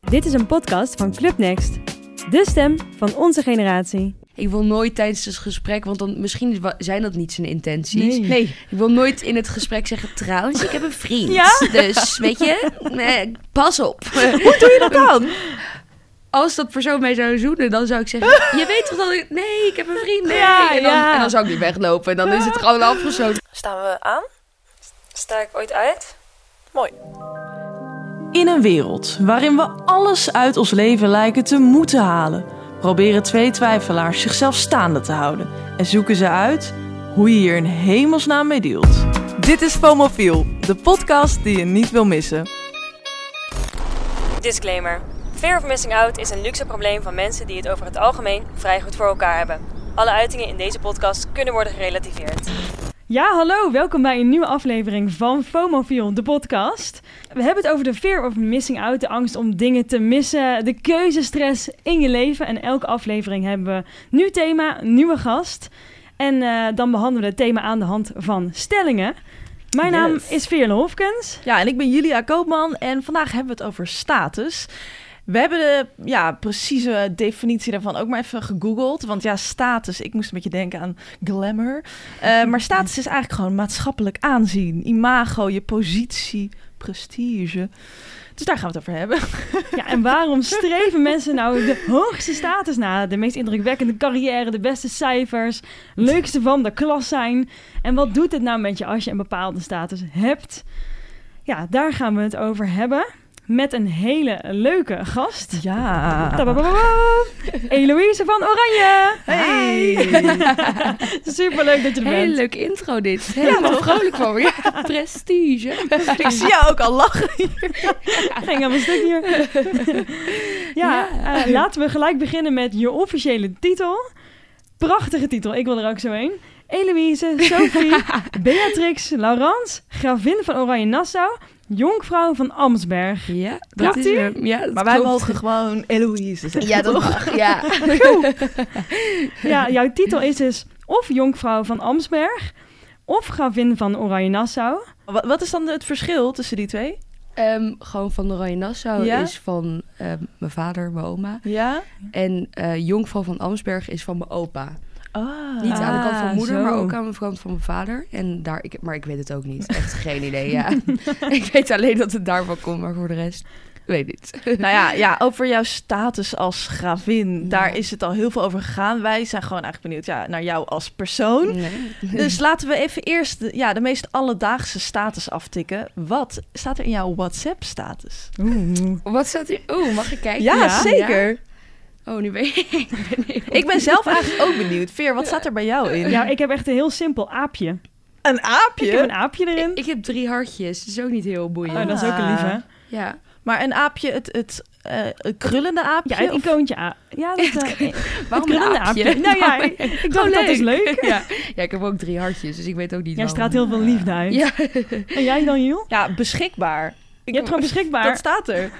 Dit is een podcast van Club Next. De stem van onze generatie. Ik wil nooit tijdens het gesprek, want dan misschien wa- zijn dat niet zijn intenties. Nee. Ik wil nooit in het gesprek zeggen, trouwens, ik heb een vriend. Ja? Dus, weet je, eh, pas op. doe je dat dan? Als dat persoon mij zou zoenen, dan zou ik zeggen, je weet toch dat ik... Nee, ik heb een vriend. Nee. Ja, en, dan, ja. en dan zou ik niet weglopen. En dan is het gewoon afgesloten. Staan we aan? Sta ik ooit uit? Mooi. In een wereld waarin we alles uit ons leven lijken te moeten halen, proberen twee twijfelaars zichzelf staande te houden en zoeken ze uit hoe je hier in hemelsnaam mee deelt. Dit is Fomofiel, de podcast die je niet wil missen. Disclaimer. Fear of missing out is een luxe probleem van mensen die het over het algemeen vrij goed voor elkaar hebben. Alle uitingen in deze podcast kunnen worden gerelativeerd. Ja, hallo. Welkom bij een nieuwe aflevering van FOMOFIEL, de podcast. We hebben het over de fear of missing out, de angst om dingen te missen, de keuzestress in je leven. En elke aflevering hebben we een nieuw thema, een nieuwe gast. En eh, dan behandelen we het thema aan de hand van stellingen. Mijn naam Yes. is Veerle Hofkens. Ja, en ik ben Julia Koopman en vandaag hebben we het over status. We hebben de ja, precieze definitie daarvan ook maar even gegoogeld. Want ja, status, ik moest een beetje denken aan glamour. Eh, maar status is eigenlijk gewoon maatschappelijk aanzien. Imago, je positie, prestige. Dus daar gaan we het over hebben. Ja, en waarom streven mensen nou de hoogste status na? De meest indrukwekkende carrière, de beste cijfers, leukste van de klas zijn. En wat doet het nou met je als je een bepaalde status hebt? Ja, daar gaan we het over hebben. Met een hele leuke gast. Ja. Tababababam. Eloïse van Oranje. Hey. Superleuk dat je er bent. Hele leuke intro dit. Helemaal vrolijk van me. Ja, prestige. ik zie jou ook al lachen. ging aan mijn stuk hier. ja, Ja. eh, laten we gelijk beginnen met je officiële titel. Prachtige titel, ik wil er ook zo een. Eloïse, Sophie, Beatrix, Laurence, Gravin van Oranje-Nassau, Jonkvrouw van Amsberg. Ja, dat Ja. is hem. Ja, dat Maar wij klopt. mogen gewoon Eloïse zeggen. Ja, dat mag. Ja. Ja, jouw titel is dus of Jonkvrouw van Amsberg of Gravin van Oranje-Nassau. Wat, wat is dan het verschil tussen die twee? Ehm, gewoon van de Rode Nassau Ja? is van ehm, mijn vader, mijn oma. Ja. En eh Jonkvrouw van Amsberg is van mijn opa. Ah. Niet aan de kant van Ah, mijn moeder, zo. maar ook aan de kant van mijn vader. En daar, ik, maar ik weet het ook niet. Echt geen idee, ja. ik weet alleen dat het daarvan komt, maar voor de rest... ik Weet niet. Nou ja, ja, over jouw status als gravin, Ja. daar is het al heel veel over gegaan. Wij zijn gewoon eigenlijk benieuwd ja, naar jou als persoon. Nee. Dus laten we even eerst de, ja, de meest alledaagse status aftikken. Wat staat er in jouw WhatsApp-status? Oeh. Wat staat hier? Oeh, mag ik kijken? Ja, zeker. Ja. Oh, nu ben ik. ben heel- Ik ben zelf eigenlijk ook benieuwd. Veer, wat staat er bij jou in? Ja, ik heb echt een heel simpel aapje. Een Ik heb een aapje? aapje erin. Ik heb drie hartjes. Dat is ook niet heel boeiend. Oh, dat is ook een lieve. Ja. Maar een aapje, het, het eh, het krullende aapje? Ja, het of- icoontje. a- Ja, dat, eh, Waarom Het krullende een aapje? aapje. Nou ja, ik- ik dacht Oh, dat is leuk. Ja. ja, ik heb ook drie hartjes, dus ik weet ook niet Jij waarom. straalt heel veel liefde uit. Ja, En jij dan, Jules? Ja, beschikbaar. Je hebt gewoon Dat beschikbaar. staat er.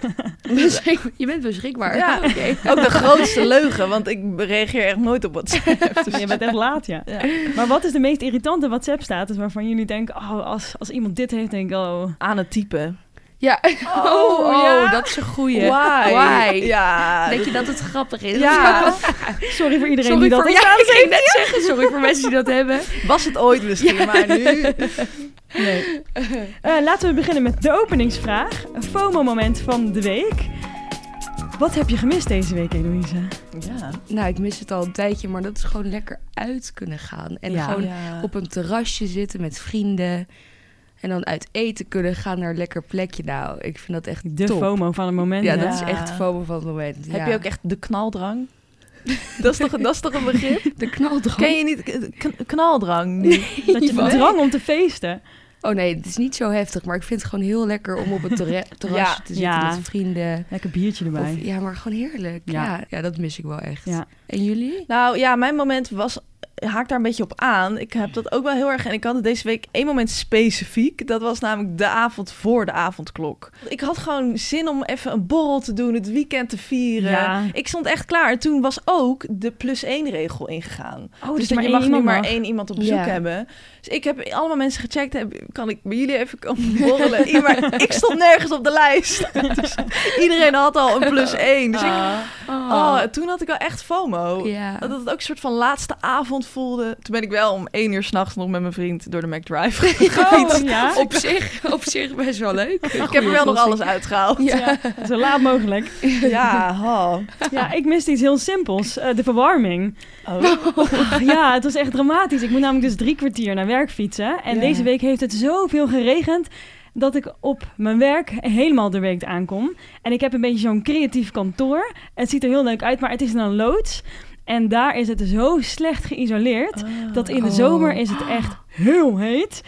beschik- Dus je bent beschikbaar. Ja. Oké. Oh. Ook de grootste leugen, want ik reageer echt nooit op WhatsApp. Dus- Je bent echt laat, ja. Maar wat is de meest irritante WhatsApp-status waarvan jullie denken... oh, als, als iemand dit heeft, denk ik... oh, Aan het typen. Ja. Oh, oh, dat is een goeie. Why? Why? Ja. Denk je dat het grappig is? Ja. sorry voor iedereen Sorry die dat voor, heeft. ja, ik ging net zeggen, sorry voor mensen die dat hebben. Was het ooit misschien, maar nu... Eh, laten we beginnen met de openingsvraag. Een FOMO-moment van de week. Wat heb je gemist deze week, Eloïse? Ja. Nou, ik mis het al een tijdje, maar dat is gewoon lekker uit kunnen gaan. En Ja. gewoon op een terrasje zitten met vrienden. En dan uit eten kunnen gaan naar een lekker plekje. Nou, ik vind dat echt De top. FOMO van het moment. Ja, hè? dat is echt de FOMO van het moment. Heb ja. je ook echt de knaldrang? dat, is toch, dat is toch een begrip? de knaldrang? Ken je niet k- k- knaldrang nu? Dat je de Wat? drang om te feesten. Oh nee, het is niet zo heftig, maar ik vind het gewoon heel lekker om op een terra- terrasje te zitten ja. met vrienden. Lekker biertje erbij. Of, ja, maar gewoon heerlijk. Ja. Ja. Ja, dat mis ik wel echt. Ja. En jullie? Nou ja, mijn moment was haak daar een beetje op aan. Ik heb dat ook wel heel erg. En ik had het deze week één moment specifiek. Dat was namelijk de avond voor de avondklok. Ik had gewoon zin om even een borrel te doen, het weekend te vieren. Ja. Ik stond echt klaar. Toen was ook de plus één regel ingegaan. Oh, dus dat je één mag nu iemand maar mag. één iemand op Ja. bezoek hebben. Dus ik heb allemaal mensen gecheckt. Heb- Kan ik bij jullie even komen borrelen? Ja, maar ik stond nergens op de lijst. Dus iedereen had al een plus één. Dus ik, oh, toen had ik wel echt FOMO. Ja. Oh, Dat het ook een soort van laatste avond voelde. Toen ben ik wel om één uur s'nachts nog met mijn vriend door de McDrive gefietst. Oh, ja. Op zich, op zich best wel leuk. Ik heb er wel nog alles uitgehaald. Ja. Zo laat mogelijk. Ja, oh. Ja, ik miste iets heel simpels. eh, de verwarming. Oh. Ja, het was echt dramatisch. Ik moet namelijk dus drie kwartier naar werk fietsen. En Ja. deze week heeft het zoveel geregend dat ik op mijn werk helemaal de week aankom. En ik heb een beetje zo'n creatief kantoor. Het ziet er heel leuk uit, maar het is in een loods. En daar is het zo slecht geïsoleerd. Dat in de Oh. zomer is het echt heel heet.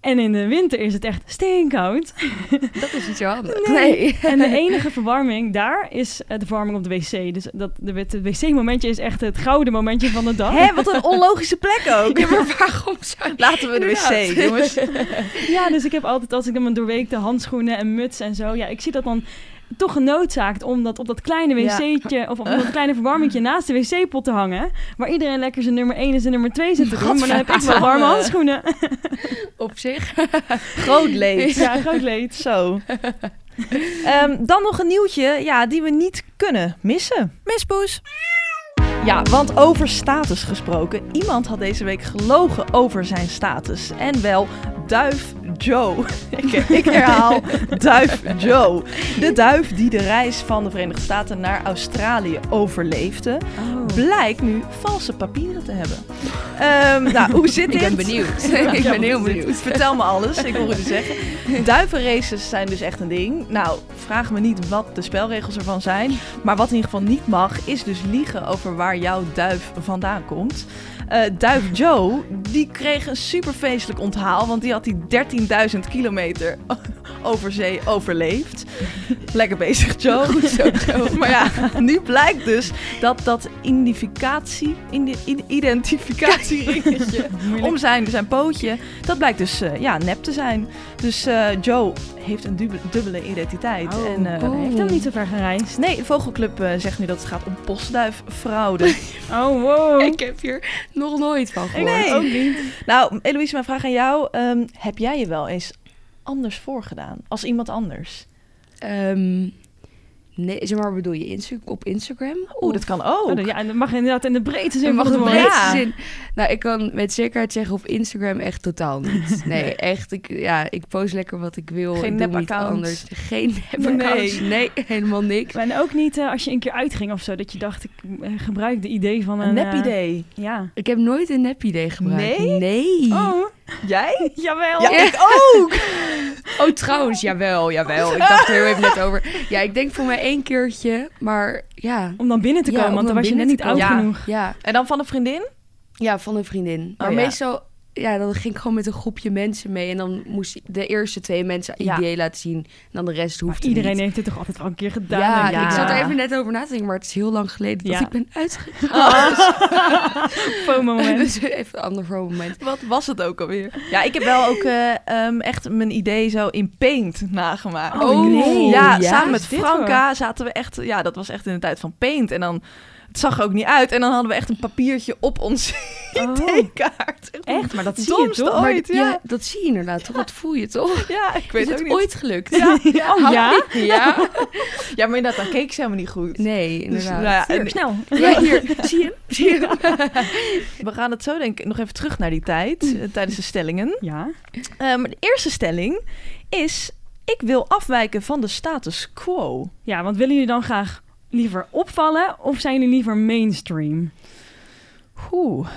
En in de winter is het echt steenkoud. Dat is niet zo handig. Nee. Nee. En de enige verwarming daar is eh, de verwarming op de wc. Dus dat, de, het wc-momentje is echt het gouden momentje van de dag. Hé, wat een onlogische plek ook. Ja, maar waarom zou Laten we de wc, Inderdaad. jongens. Ja, dus ik heb altijd, als ik dan mijn doorweekte handschoenen en muts en zo... Ja, ik zie dat dan toch genoodzaakt om dat op dat kleine Ja. wc'tje... of op dat kleine verwarmingje naast de wc-pot te hangen... waar iedereen lekker zijn nummer 1 en zijn nummer 2 zit te doen. Maar dan heb ik wel warme Gadverdamme. handschoenen. op zich? Groot leed. Ja, groot leed. Zo. Ehm, dan nog een nieuwtje ja, die we niet kunnen missen. Mispoes. Ja, want over status gesproken. Iemand had deze week gelogen over zijn status. En wel Duif Joe. ik, ik herhaal Duif Joe. De duif die de reis van de Verenigde Staten naar Australië overleefde. Oh. Blijkt nu valse papieren te hebben. Ehm, nou, hoe zit Ik dit? ben benieuwd. ik ben heel benieuwd. Vertel me alles, ik hoor het u zeggen. Duivenraces zijn dus echt een ding. Nou, vraag me niet wat de spelregels ervan zijn. Maar wat in ieder geval niet mag, is dus liegen over waar jouw duif vandaan komt. Eh, duif Joe, die kreeg een super feestelijk onthaal, want die had die 13.000 kilometer over zee overleefd. Lekker bezig, Joe. Goed zo, Joe. Maar ja, nu blijkt dus dat dat identificatie, indi- i- identificatieringetje om zijn, dus zijn pootje, dat blijkt dus eh, ja, nep te zijn. Dus eh, Joe heeft een dubbele, dubbele identiteit. Oh, en, eh, hij heeft hem niet zo ver gereisd. Nee, de Vogelclub eh, zegt nu dat het gaat om postduiffraude. Oh, wow. Ik heb hier nog nooit van gehoord. Nee. ook niet. nou, Eloïse, mijn vraag aan jou. ehm, heb jij je wel eens anders voorgedaan? Als iemand anders? Ehm, nee, zeg maar, bedoel je Insta- op Instagram? Oeh, dat kan ook. Oh, ja, en dat mag inderdaad in de breedte zin Je mag van het het in woord. breedste Ja. zin. Nou, ik kan met zekerheid zeggen op Instagram echt totaal niet. Nee, echt. Ik, ja, ik post lekker wat ik wil. Geen ik doe niet nep-account. anders. Geen Nee. nep-accounts. Nee, helemaal niks. En ook niet eh, als je een keer uitging of zo, dat je dacht, ik eh, gebruik de idee van een... Een nep eh, idee. ja. Ik heb nooit een nep-idee gebruikt. Nee? Nee. Oh, Jij? jawel. Ja, Ja. ik ook! Oh, trouwens, jawel, jawel. Ik dacht er heel even net over. Ja, ik denk voor mij één keertje, maar ja. Om dan binnen te Ja, komen, om want dan dan was je net binnen niet te oud komen. Ja. genoeg. Ja, En dan van een vriendin? Oh, ja van een vriendin. Maar ja. meestal, ja, dan ging ik gewoon met een groepje mensen mee. En dan moest ik de eerste twee mensen een Ja. idee laten zien. En dan de rest hoeft Iedereen niet. heeft dit toch altijd wel een keer gedaan? Ja, denk ja. ik zat er even net over na te denken, maar het is heel lang geleden dat Ja. ik ben uitgegaan. FOMO-moment. Dus even een ander voor moment. Wat was het ook alweer? Ja, ik heb wel ook eh, ehm, echt mijn idee zo in paint nagemaakt. Oh, nee. Ja, Ja, samen wat met is dit Franka zaten we echt... Ja, dat was echt in de tijd van paint. En dan... Het zag er ook niet uit. En dan hadden we echt een papiertje op ons Oh, ID-kaart. echt? Maar dat zie je Domste toch? Maar ooit, ja. ja. dat zie je inderdaad toch? Dat voel je toch? Ja, ik Is weet het ook niet. ooit gelukt? Ja, Oh, ja? Ja? ja, maar inderdaad, dan keek ze helemaal niet goed. Nee, Dus, nou inderdaad. ja, en- Hier, snel. Ja, hier. Zie je hem? Zie je hem? we gaan het zo denk ik nog even terug naar die tijd, eh, tijdens de stellingen. Ja. Eh, maar de eerste stelling is, ik wil afwijken van de status quo. ja, want willen jullie dan graag liever opvallen of zijn jullie liever mainstream? Oeh.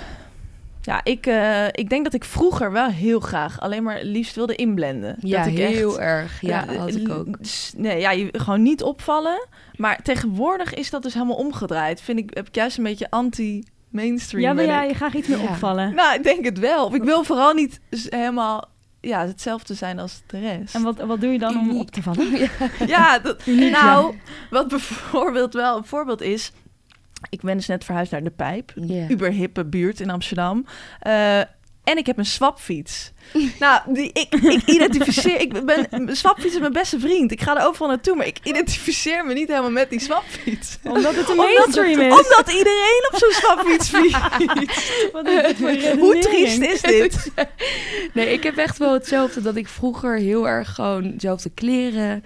Ja, ik, eh, ik denk dat ik vroeger wel heel graag alleen maar liefst wilde inblenden. Ja, dat ik echt- heel erg. Ja, eh, had ik ook. s- Nee, ja, je, gewoon niet opvallen. Maar tegenwoordig is dat dus helemaal omgedraaid. Vind ik, heb ik juist een beetje anti-mainstream. Ja, wil ben jij ik. graag iets meer Ja. opvallen? Nou, ik denk het wel. Of Ik wil vooral niet s- helemaal ja, hetzelfde zijn als de rest. En wat, wat doe je dan om Uniek. op te vallen? Ja, dat, Uniek, nou, wat bijvoorbeeld wel een voorbeeld is. Ik ben dus net verhuisd naar De Pijp. Ja. Uberhippe buurt in Amsterdam. Eh, en ik heb een swapfiets. nou, die, ik, ik identificeer... Ik ben, mijn swapfiets is mijn beste vriend. Ik ga er overal naartoe, maar ik identificeer me niet helemaal met die swapfiets. Omdat het een Omdat het- mainstream is. Omdat iedereen op zo'n swapfiets fietst. Wat is dit voor Hoe redenering? triest is dit? Nee, ik heb echt wel hetzelfde dat ik vroeger heel erg gewoon dezelfde kleren, een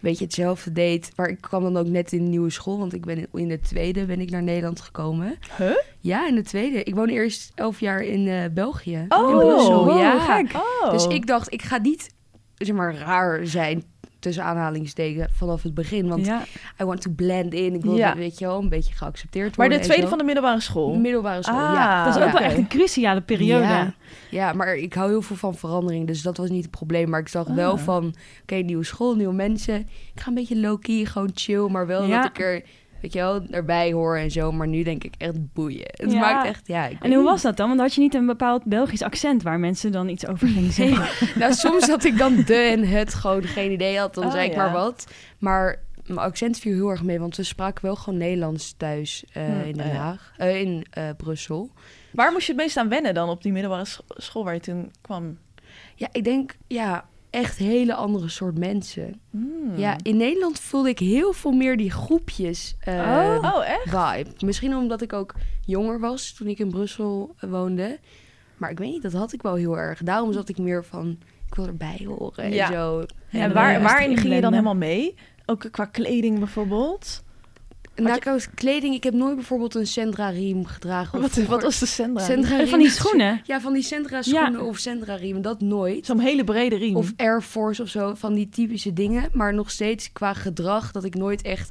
beetje hetzelfde deed. Maar ik kwam dan ook net in een nieuwe school, want ik ben in, in de tweede ben ik naar Nederland gekomen. Huh? Ja, in de tweede. Ik woonde eerst elf jaar in eh, België. Oh, in Brussel. wow, ja. gek. Oh. Dus ik dacht, ik ga niet zeg maar raar zijn tussen aanhalingstekens vanaf het begin, want Ja. I want to blend in. Ik wil Ja. weet je wel een beetje geaccepteerd maar worden. de en tweede zo. van de middelbare school. middelbare school. Ah, ja. Dat is Ja. ook wel echt een cruciale periode. Ja, ja, maar ik hou heel veel van verandering, dus dat was niet het probleem. Maar ik zag wel Ah. van, oké, nieuwe school, nieuwe mensen. Ik ga een beetje low-key, gewoon chill, maar wel Ja. dat ik er, weet je wel, erbij hoor en zo. Maar nu denk ik echt boeien. Het Ja. maakt echt, ja. Ik Mm. En hoe was dat dan? Want had je niet een bepaald Belgisch accent waar mensen dan iets over gingen zeggen? Nou, soms had ik dan de en het gewoon geen idee had, dan Oh, zei ik ja. maar wat. Maar mijn accent viel heel erg mee, want we spraken wel gewoon Nederlands thuis eh, Hm. in Oh, Den ja. Haag, eh, in eh, Brussel. Waar moest je het meest aan wennen dan op die middelbare scho- school waar je toen kwam? Ja, ik denk, ja, echt hele andere soort mensen. Hmm. Ja, in Nederland voelde ik heel veel meer die groepjes eh, Oh, echt? vibe. Misschien omdat ik ook jonger was toen ik in Brussel eh, woonde. Maar ik weet niet, dat had ik wel heel erg. Daarom zat ik meer van, ik wil erbij horen en eh, Ja. zo. En En waar, dan waarin echt ging je dan inblenden. helemaal mee? Ook qua kleding bijvoorbeeld? Nou, trouwens, kleding, ik heb nooit bijvoorbeeld een Sandra riem gedragen. of Wat, vroeger- wat was de Sandra? Sandra En riem- van die schoenen. Ja, van die Sandra schoenen of Sandra riem, dat nooit. Zo'n hele brede riem. Of Air Force of zo, van die typische dingen. Maar nog steeds qua gedrag dat ik nooit echt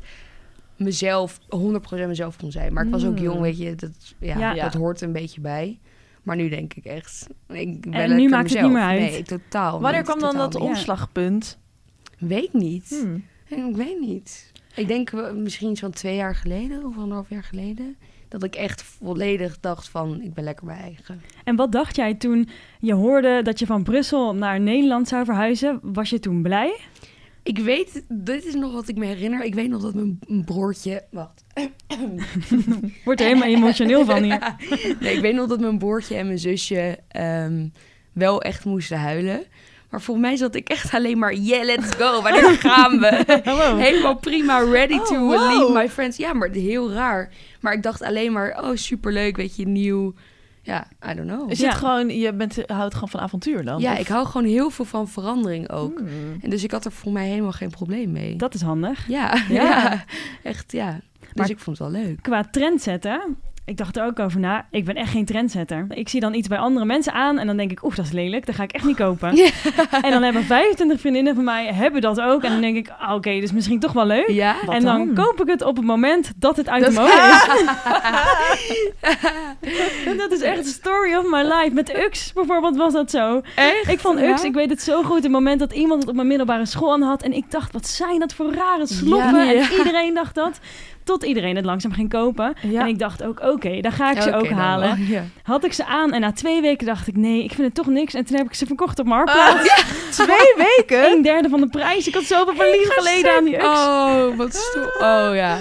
mezelf, 100% mezelf kon zijn. Maar ik was ook Mm. jong, weet je, dat, ja, Ja. dat hoort een ben een beetje bij. Maar nu denk ik echt. Ik ben nu lekker maakt het mezelf. niet meer uit. Nee, totaal. Wanneer niet, kwam dan totaal dat niet. niet. omslagpunt? Weet niet. Hmm. Ik weet niet. Ik denk eh, misschien zo'n twee jaar geleden of anderhalf jaar geleden. Dat ik echt volledig dacht van, ik ben lekker mijn eigen. En wat dacht jij toen je hoorde dat je van Brussel naar Nederland zou verhuizen? Was je toen blij? Ik weet, dit is nog wat ik me herinner. Ik weet nog dat mijn mijn broertje... Wacht. Wordt er helemaal emotioneel van hier. Nee, ik weet nog dat mijn broertje en mijn zusje ehm, wel echt moesten huilen. Maar volgens mij zat ik echt alleen maar, yeah, let's go. Wanneer gaan we? Helemaal prima, ready to Oh, wow. leave my friends. Ja, maar heel raar. Maar ik dacht alleen maar, oh, superleuk, weet je, nieuw. Ja, I don't know. Is Ja. het gewoon, je bent, houdt gewoon van avontuur dan? Ja, Of- ik hou gewoon heel veel van verandering ook. Hmm. En dus ik had er voor mij helemaal geen probleem mee. Dat is handig. Ja, Ja. ja. echt ja. Dus Maar- ik vond het wel leuk. Qua trendsetten, ik dacht er ook over na. Ik ben echt geen trendsetter. Ik zie dan iets bij andere mensen aan en dan denk ik, oeh, dat is lelijk. Dat ga ik echt niet kopen. En dan hebben 25 vriendinnen van mij hebben dat ook. En dan denk ik, ah, oké, dus misschien toch wel leuk. Ja, en dan, dan? koop ik het op het moment dat het uit Dat- de mode is. En dat is echt de story of my life. Met Ux bijvoorbeeld was dat zo. echt? Ik vond Ux, ik weet het zo goed, het moment dat iemand het op mijn middelbare school aan had. En ik dacht, wat zijn dat voor rare sloffen. Ja. En iedereen dacht dat. Tot iedereen het langzaam ging kopen. Ja. En ik dacht ook, oké, daar ga ik ze Oké, ook dan halen. wel. Ja. Had ik ze aan en na twee weken dacht ik, nee, ik vind het toch niks. En toen heb ik ze verkocht op Marktplaats. Twee weken? Een derde van de prijs. Ik had zoveel verlies geleden aan die Ux. Oh, wat stoel. Oh ja.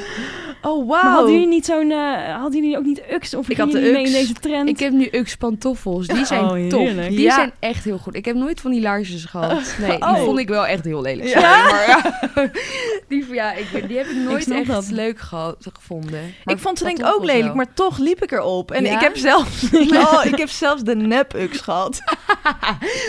Oh, Maar wauw. hadden jullie niet zo'n, eh, hadden jullie ook niet UX of Ik gingen had de jullie mee in Ux. deze trend? Ik heb nu Ux pantoffels. Die zijn Oh, top. heerlijk. Die Ja. zijn echt heel goed. Ik heb nooit van die laarsjes gehad. Nee, die Oh. vond ik wel echt heel lelijk. Ja? Sorry, maar ja. Die, ja, ik, die heb ik nooit snap echt dat. leuk gehad, gevonden. Maar ik vond ze denk ik ook pantoffels lelijk, wel. maar toch liep ik erop. En Ja? ik heb zelfs, oh, ik heb zelfs de nep-ux gehad.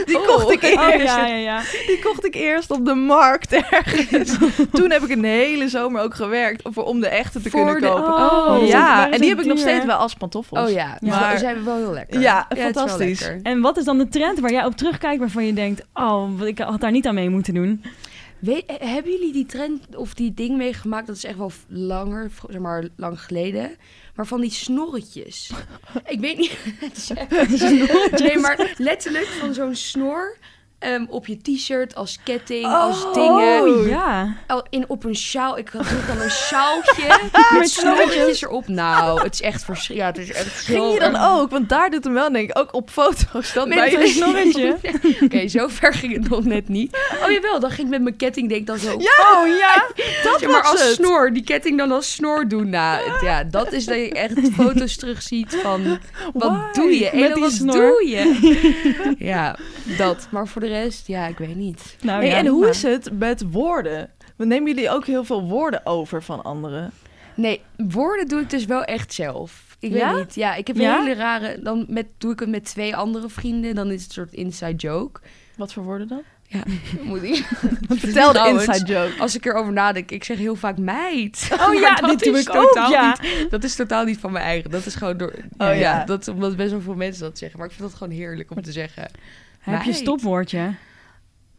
Die Oh. kocht ik eerst. Oh ja, ja, ja. Die kocht ik eerst op de markt ergens. Toen heb ik een hele zomer ook gewerkt voor- om de echte te Voor kunnen de- kopen. Oh, die ja, waren en zo die heb ik nog duur. steeds wel als pantoffels. Oh ja, Ja. maar ze zijn wel heel lekker. Ja, het is wel fantastisch. lekker. En wat is dan de trend waar jij op terugkijkt waarvan je denkt, oh, wat- ik had daar niet aan mee moeten doen? Weet- eh, hebben jullie die trend of die ding meegemaakt? Dat is echt wel v- langer, v- zeg maar lang geleden. Maar van die snorretjes. ik weet niet. nee, maar letterlijk van zo'n snor. Ehm, op je t-shirt, als ketting, Oh, als dingen. Oh ja. Al- in, op een sjaal. Ik had toen dan een sjaaltje met snorretjes erop. Nou, het is echt verschrikkelijk. Ja, het is echt Ging zo je dan erg. ook? Want daar doet hem wel, denk ik, ook op foto's. Dat bij Met je een snorretje. Oké, zo ver ging het nog net niet. Oh jawel, dan ging ik met mijn ketting denk ik dan zo... Ja, Oh ja, dat maar was als het. snor, die ketting dan als snor doen. Nou, het- ja, dat is dat je echt foto's terugziet van... Wat Why? doe je? Met Elo, die wat snor. doe je? ja, dat. Maar voor de rest, ja, ik weet niet. Nou, Hey, ja. en hoe Maar- is het met woorden? Want Nemen jullie ook heel veel woorden over van anderen? Nee, woorden doe ik dus wel echt zelf. Ik Ja? weet niet. Ja, ik heb Ja? een hele rare... Dan met, doe ik het met twee andere vrienden. Dan is het een soort inside joke. Wat voor woorden dan? Moet ik... Vertel de Trouwens, inside joke. Als ik erover nadenk, ik zeg heel vaak meid. Oh ja, Maar dat dit doe is ik ook, totaal ja. Niet, dat is totaal niet van mijn eigen. Dat is gewoon door... Oh ja. ja, dat, omdat best wel veel mensen dat zeggen. Maar ik vind dat gewoon heerlijk om te zeggen. Heb je Meid. stopwoordje?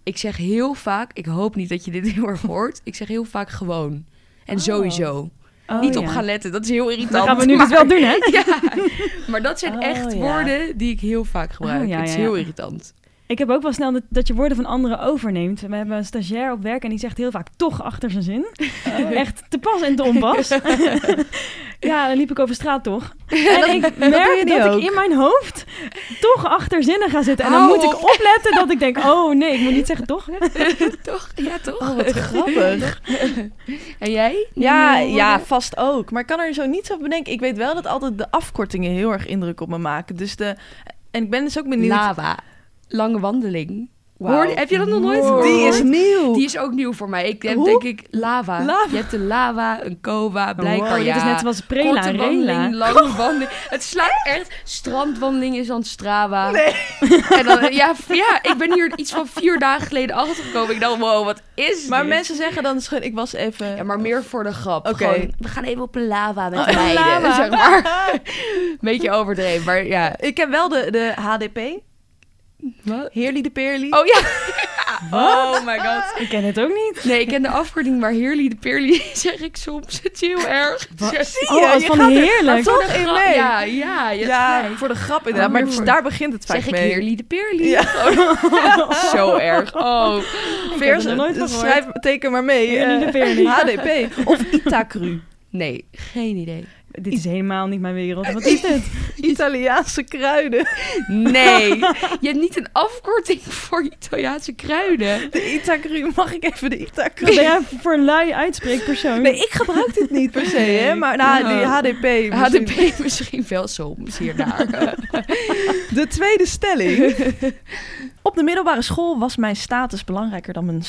Ik zeg heel vaak, ik hoop niet dat je dit heel erg hoort. Ik zeg heel vaak gewoon. En Oh. sowieso. Oh, niet op ja. gaan letten, dat is heel irritant. Dan gaan we nu dus wel doen, hè? Ja, maar dat zijn Oh, echt ja. woorden die ik heel vaak gebruik. Oh, ja, het is ja, ja. heel irritant. Ik heb ook wel snel dat, dat je woorden van anderen overneemt. We hebben een stagiair op werk en die zegt heel vaak toch achter zijn zin. Oh, Echt te pas en te onpas. ja, dan liep ik over straat toch. En, ik doe je merk nu dat ook. ik in mijn hoofd toch achter zinnen ga zitten. En dan Hou moet ik op. opletten dat ik denk, oh nee, ik moet niet zeggen toch. toch? Ja, toch? Oh, wat grappig. En jij? Ja, Nieuwe ja, woorden? vast ook. Maar ik kan er zo niet zo op bedenken. Ik weet wel dat altijd de afkortingen heel erg indruk op me maken. Dus de... En ik ben dus ook benieuwd... Lava. Lange wandeling. Wauw. Hoorde- heb je dat nog nooit Wow. gehoord? Die is nieuw. Die is ook nieuw voor mij. Ik heb Hoe? denk ik lava. Lava. Je hebt een lava, een cova, blijkbaar Wow, ja. Oh, Dit is net zoals prela, Korte rela. wandeling, lange wandeling. Het slaat echt. Strandwandeling is dan Strava. En dan, ja, f- ja, ik ben hier iets van vier dagen geleden achtergekomen. Ik dacht, wow, wat is Maar dit? mensen zeggen dan, schud, ik was even... Ja, maar meer voor de grap. Oké. Gewoon, we gaan even op een lava met Oh, beiden, lava. zeg maar. Beetje overdreven, maar ja. Ik heb wel de, de HDP. Wat? Heerly de Peerly. Oh ja. Oh my god. Ik ken het ook niet. Nee, ik ken de afkorting, maar Heerly de Peerly zeg ik soms. Het is heel erg. Ja, Oh, wat je van gaat er heerlijk. toch in Gra- mee. Ja, ja, je hebt Ja, gelijk. voor de grap inderdaad. Maar Oh, maar- daar begint het vaak Zeg ik mee. Heerly de Peerly? Ja. Zo erg. Oh. Veers, er nooit van schrijf, teken maar mee. Heerly de eh, Peerly. HDP. Of Itacru. Nee, geen idee. Dit is helemaal niet mijn wereld. Wat is dit? Italiaanse kruiden. Nee. Je hebt niet een afkorting voor Italiaanse kruiden. De Itacru. Mag ik even de Ben Itacru? jij voor een lui uitspreekpersoon? Nee, ik gebruik dit niet per se, hè. Maar nou, die HDP. misschien. HDP misschien wel soms hiernaar. De tweede stelling. Op de middelbare school was mijn status belangrijker dan mijn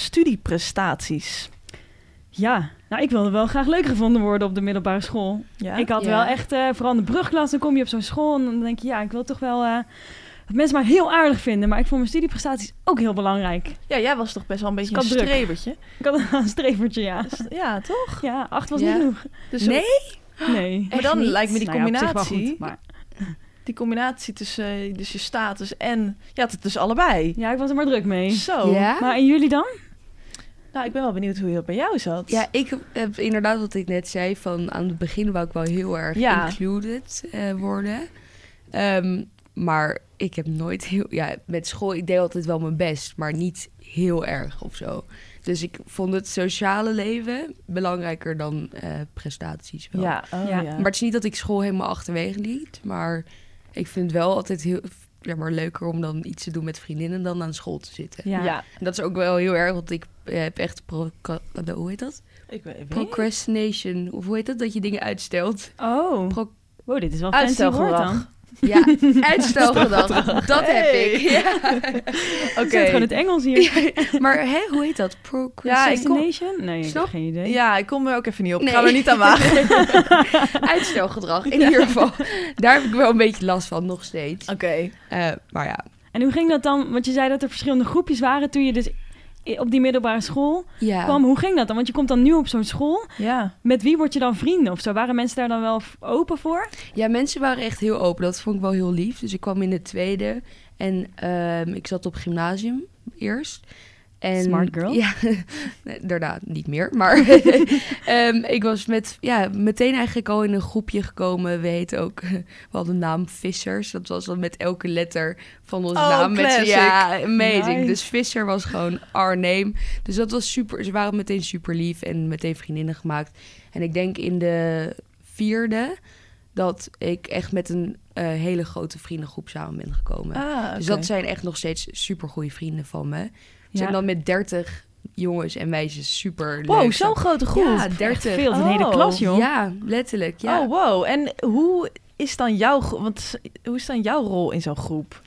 studieprestaties. Ja, nou ik wilde wel graag leuk gevonden worden op de middelbare school. Ja? Ik had Ja. wel echt, eh, vooral in de brugklas, dan kom je op zo'n school en dan denk je, ja, ik wil toch wel eh, dat mensen mij heel aardig vinden. Maar ik vond mijn studieprestaties ook heel belangrijk. ja, jij was toch best wel een beetje een Ik had druk. strebertje? Ik had een strevertje, ja. Ja, toch? Ja, acht was Ja. niet genoeg. Dus Nee? Nee. Maar Echt dan niet? lijkt me die Nou ja, op zich wel combinatie, goed, maar... die combinatie tussen eh, dus je status en... Je had het dus allebei. Ja, ik was er maar druk mee. Zo. Maar en jullie dan? Nou, ik ben wel benieuwd hoe dat bij jou zat. Ja, ik heb inderdaad wat ik net zei. Van aan het begin wou ik wel heel erg Ja. included eh, worden. Ehm, maar ik heb nooit heel... Ja, met school, ik deed altijd wel mijn best. Maar niet heel erg of zo. Dus ik vond het sociale leven belangrijker dan eh, prestaties wel. Ja, oh, ja. Ja. Maar het is niet dat ik school helemaal achterwege liet. Maar ik vind het wel altijd heel... Ja, maar leuker om dan iets te doen met vriendinnen dan aan school te zitten. Ja. Ja. En dat is ook wel heel erg, want ik eh, heb echt... proca- Hoe heet dat? Ik weet ik weet niet. Procrastination. Of hoe heet dat? Dat je dingen uitstelt. Oh. Pro- Wow, dit is wel fancy woord Uitstelgedrag. dan. Ja, uitstelgedrag. Dat heb Hey. ik. Ja. Ik zit gewoon het Engels hier. Maar hè, hoe heet dat? Procrastination. Ja, ik kom- Destination? Nee, ik heb Snap? geen idee. Ja, ik kom er ook even niet op. Ik ga Nee. er niet aan wagen. Uitstelgedrag. In ieder geval. Daar heb ik wel een beetje last van, nog steeds. Oké. Eh, maar ja. En hoe ging dat dan? Want je zei dat er verschillende groepjes waren toen je dus i- op die middelbare school ja. kwam. Hoe ging dat dan? Want je komt dan nu op zo'n school. Ja. Met wie word je dan vrienden of zo? Waren mensen daar dan wel f- open voor? Ja, mensen waren echt heel open. Dat vond ik wel heel lief. Dus ik kwam in de tweede en ehm, ik zat op gymnasium eerst. En, Smart girl. Ja, nee, daarna niet meer. Maar ehm, ik was met, ja, meteen eigenlijk al in een groepje gekomen. We heten ook, we hadden de naam Vissers. Dat was dan met elke letter van onze Oh, naam. Met, z'n- classic. ja, amazing. Nice. Dus Visser was gewoon our name. Dus dat was super. Ze waren meteen super lief en meteen vriendinnen gemaakt. En ik denk in de vierde dat ik echt met een eh, hele grote vriendengroep samen ben gekomen. Ah, Dus oké. dat zijn echt nog steeds super goede vrienden van me. Ze Ja. zijn dan met 30 jongens en meisjes super Wow, leuk. zo'n grote groep. Ja, 30. Veel, een hele Oh, klas, joh. Ja, letterlijk. Ja. Oh, wow. En hoe is dan jouw, gro- want hoe is dan jouw rol in zo'n groep?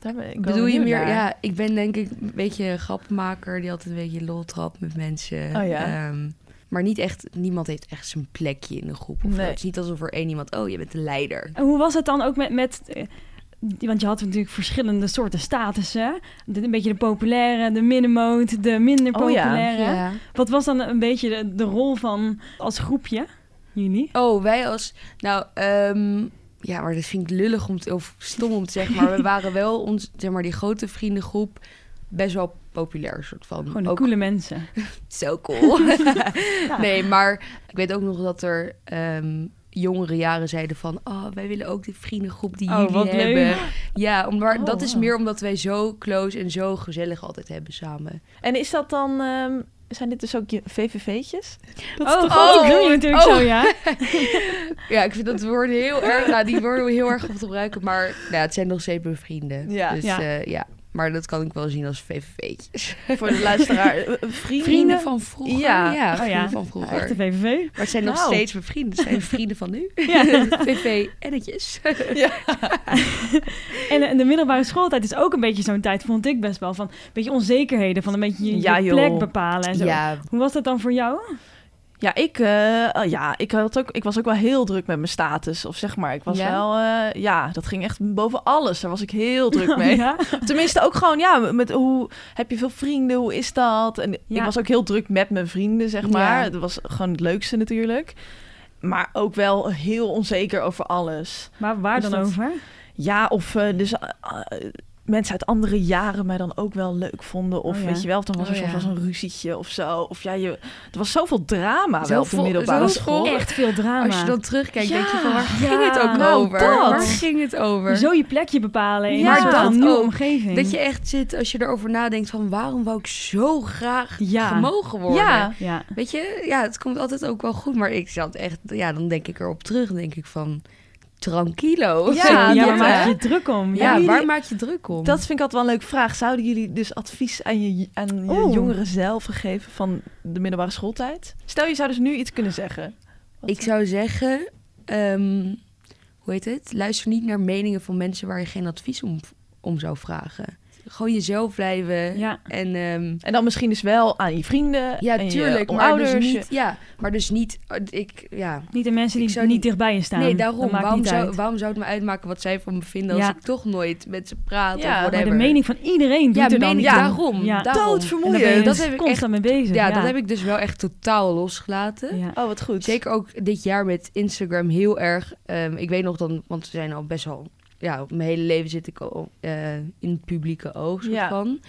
Daar ben ik wel Bedoel je benieuwd meer? naar. Ja, ik ben denk ik een beetje een grappenmaker die altijd een beetje lol trapt met mensen. Oh ja. Ehm, maar niet echt, niemand heeft echt zijn plekje in de groep. Of zo. Nee. Het is niet alsof er één iemand, oh, je bent de leider. En hoe was het dan ook met... met eh, want je had natuurlijk verschillende soorten statussen. De, een beetje de populaire, de middenmoot, de minder Oh ja. populaire. Wat was dan een beetje de, de rol van als groepje? Jullie? Oh, wij als. Nou, ehm, ja, maar dat vind ik lullig om te- of stom om te zeggen. Maar we waren wel ons, zeg maar, die grote vriendengroep best wel populair, soort van. Gewoon de ook coole mensen. zo cool. Nee, maar ik weet ook nog dat er ehm, jongere jaren zeiden van, oh, wij willen ook die vriendengroep die Oh, jullie wat leuk. hebben. Ja, om- maar Oh, dat is wow. meer omdat wij zo close en zo gezellig altijd hebben samen. En is dat dan, ehm, zijn dit dus ook je VVV'tjes? Dat is oh, toch- god, ook- ik wil je oh, natuurlijk oh. zo, ja. Ja, ik vind dat woord heel erg. Nou, die worden we heel erg op te gebruiken. Maar nou, ja, het zijn nog steeds mijn vrienden. Ja. dus, Ja. ja. ja. Maar dat kan ik wel zien als VVV'tjes. voor de luisteraar. eh, Vrienden, Vrienden van vroeger. Ja. Oh vrienden ja. van Ja, vroeger. Echte VVV. Maar het zijn nog Nou. steeds mijn vrienden. Het zijn vrienden van nu. Ja. VV-ennetjes. En, eh, en de middelbare schooltijd is ook een beetje zo'n tijd, vond ik best wel. Van een beetje onzekerheden, van een beetje je, je Ja, joh. plek bepalen en zo. Ja, Hoe was dat dan voor jou? Ja, ik, eh, oh ja ik, had ook, ik was ook wel heel druk met mijn status. Of zeg maar, ik was Ja? wel... eh, ja, dat ging echt boven alles. Daar was ik heel druk mee. Ja? Tenminste, ook gewoon, ja, met hoe... Heb je veel vrienden? Hoe is dat? En Ja. ik was ook heel druk met mijn vrienden, zeg maar. Ja. Dat was gewoon het leukste natuurlijk. Maar ook wel heel onzeker over alles. Maar waar Dus dan dat- over? Ja, of eh, dus... eh, eh, Mensen uit andere jaren mij dan ook wel leuk vonden. Of Oh ja. weet je wel, of dan was er Oh soms ja. wel eens een ruzietje of zo. Of ja, je, er was zoveel drama Zo wel op de vol- middelbare zo vol school. Echt veel drama. als je dan terugkijkt, denk je van waar Ja. ging het ook Nou, over? dat. Waar ging het over? Zo je plekje bepalen in Ja, een soort dat van nieuwe ook. omgeving. Dat je echt zit, als je erover nadenkt van waarom wou ik zo graag Ja. gemogen worden? Ja. Ja. Weet je, ja, het komt altijd ook wel goed. Maar ik zat echt, ja, dan denk ik erop terug. Dan denk ik van, tranquilo. Ja, Zo, Ja, ja. waar maak je je druk om? Ja, Ja. jullie- waar maak je druk om? Dat vind ik altijd wel een leuke vraag. Zouden jullie dus advies aan je, aan je Oeh. jongeren zelf geven van de middelbare schooltijd? Stel, je zou dus nu iets kunnen zeggen. Wat- Ik zou zeggen, ehm, hoe heet het? Luister niet naar meningen van mensen waar je geen advies om, om zou vragen. Gewoon jezelf blijven. Ja. En ehm, En dan misschien dus wel aan je vrienden ja, en tuurlijk. je Maar ouders. dus je- niet, ja, maar dus niet, ik, ja, Niet de mensen Ik die zou niet niet- dichtbij je staan. Nee, Dat daarom. maakt Waarom niet zou, uit. waarom zou het me uitmaken wat zij van me vinden als Ja. ik toch nooit met ze praat Ja, maar of de Maar whatever? de mening van iedereen doet ja, er dan mening, niet toe. daarom. Ja. daarom. En daar ben je Doodvermoeiend. Dat dus heb ik constant mee bezig. Ja, dat heb ik dus wel echt totaal losgelaten. Ja. Oh, wat goed. Zeker ook dit jaar met Instagram heel erg. ehm, ik weet nog dan, want we zijn al best wel... Ja, op mijn hele leven zit ik al eh, in het publieke oog, soort Ja. van.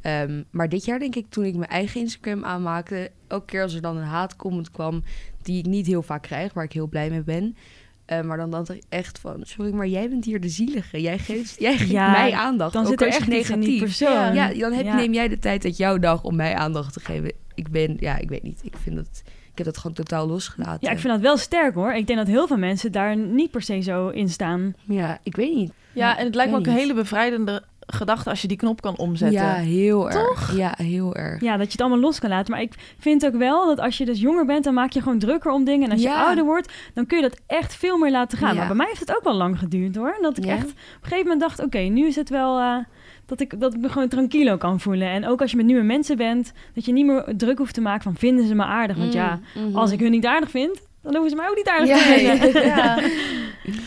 Ehm, maar dit jaar denk ik, toen ik mijn eigen Instagram aanmaakte... elke keer als er dan een haatcomment kwam... die ik niet heel vaak krijg, waar ik heel blij mee ben... eh, maar dan dacht ik echt van, sorry, maar jij bent hier de zielige. Jij geeft, jij geeft Ja, mij aandacht. Dan ook zit er al is het echt iets in die negatief. persoon. Ja, dan heb, Ehm, Ja. neem jij de tijd uit jouw dag om mij aandacht te geven. Ik ben, ja, ik weet niet. Ik vind dat, ik heb dat gewoon totaal losgelaten. Ja, ik vind dat wel sterk hoor. Ik denk dat heel veel mensen daar niet per se zo in staan. Ja, ik weet niet. Ja, en het lijkt me ook weet een niet. hele bevrijdende gedachte als je die knop kan omzetten. Ja, heel erg. Ja, heel erg. Ja, dat je het allemaal los kan laten. Maar ik vind ook wel dat als je dus jonger bent, dan maak je gewoon drukker om dingen. En als je Ja. ouder wordt, dan kun je dat echt veel meer laten gaan. Ja. Maar bij mij heeft het ook wel lang geduurd hoor. Dat ik Ja? echt op een gegeven moment dacht, oké, nu is het wel... eh, dat ik, dat ik me gewoon tranquilo kan voelen. En ook als je met nieuwe mensen bent, dat je niet meer druk hoeft te maken van vinden ze me aardig. Want ja, Mm, mhm. als ik hun niet aardig vind, dan hoeven ze mij ook niet aardig Ja, te vinden. Ja.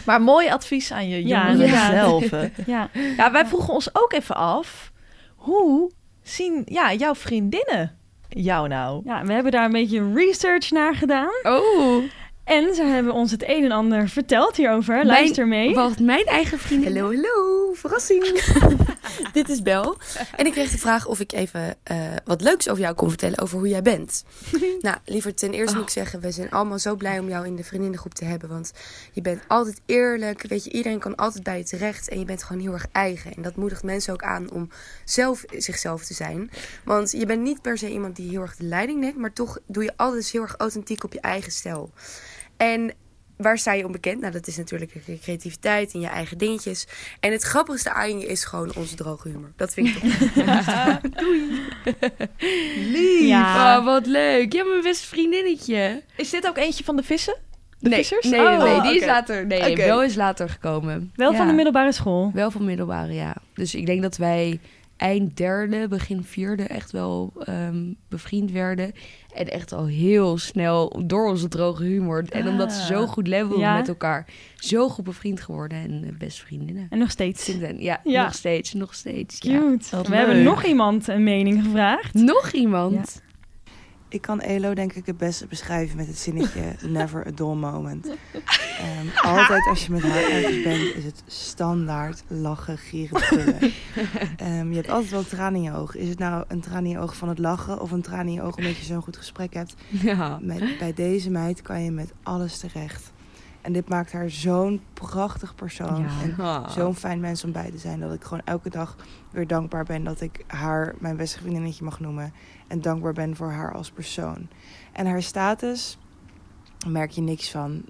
Maar mooi advies aan je Ja, jongeren inderdaad. zelf. hè. Ja. Ja, wij vroegen ons ook even af. Hoe zien ja, jouw vriendinnen jou nou? ja, we hebben daar een beetje research naar gedaan. Oh, En ze hebben ons het een en ander verteld hierover. Luister mee. Wacht, mijn eigen vrienden. Hallo, hallo. verrassing. Dit is Bel. En ik kreeg de vraag of ik even eh, wat leuks over jou kon vertellen, over hoe jij bent. nou, liever ten eerste Oh. moet ik zeggen, we zijn allemaal zo blij om jou in de vriendinnengroep te hebben. Want je bent altijd eerlijk, weet je, iedereen kan altijd bij je terecht. En je bent gewoon heel erg eigen. En dat moedigt mensen ook aan om zelf zichzelf te zijn. Want je bent niet per se iemand die heel erg de leiding neemt, maar toch doe je alles heel erg authentiek op je eigen stijl. En waar sta je onbekend? Nou, dat is natuurlijk je creativiteit en je eigen dingetjes. En het grappigste aan je is gewoon onze droge humor. Dat vind ik toch Ja. Oh, wat leuk. Ja, mijn beste vriendinnetje. Is dit ook eentje van de vissen? De nee, vissers? Nee, Oh, nee, die is oké. later. Nee, Oké. Bel is later gekomen. Wel van Ja. de middelbare school. Wel van middelbare, ja. Dus ik denk dat wij eind derde, begin vierde echt wel ehm, bevriend werden. En echt al heel snel door onze droge humor. En omdat ze zo goed levelden Ah. Ja. met elkaar. Zo goed bevriend geworden en eh, best vriendinnen. En nog steeds. Sinds dan, ja, Ja. nog steeds, nog steeds. ja. Cute. Wat We hebben leuk. nog iemand een mening gevraagd. Nog iemand? Ik kan Elo denk ik het beste beschrijven met het zinnetje never a dull moment. Ehm, altijd als je met haar ergens bent, is het standaard lachen, gieren, gillen. Ehm, je hebt altijd wel tranen in je oog. Is het nou een traan in je oog van het lachen of een traan in je oog omdat je zo'n goed gesprek hebt? Ja. Met, bij deze meid kan je met alles terecht. En dit maakt haar zo'n prachtig persoon. En Ah. zo'n fijn mens om bij te zijn. Dat ik gewoon elke dag weer dankbaar ben dat ik haar mijn beste vriendinnetje mag noemen. En dankbaar ben voor haar als persoon. En haar status daar merk je niks van.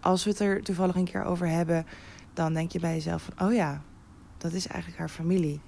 Als we het er toevallig een keer over hebben, dan denk je bij jezelf van, oh ja, dat is eigenlijk haar familie.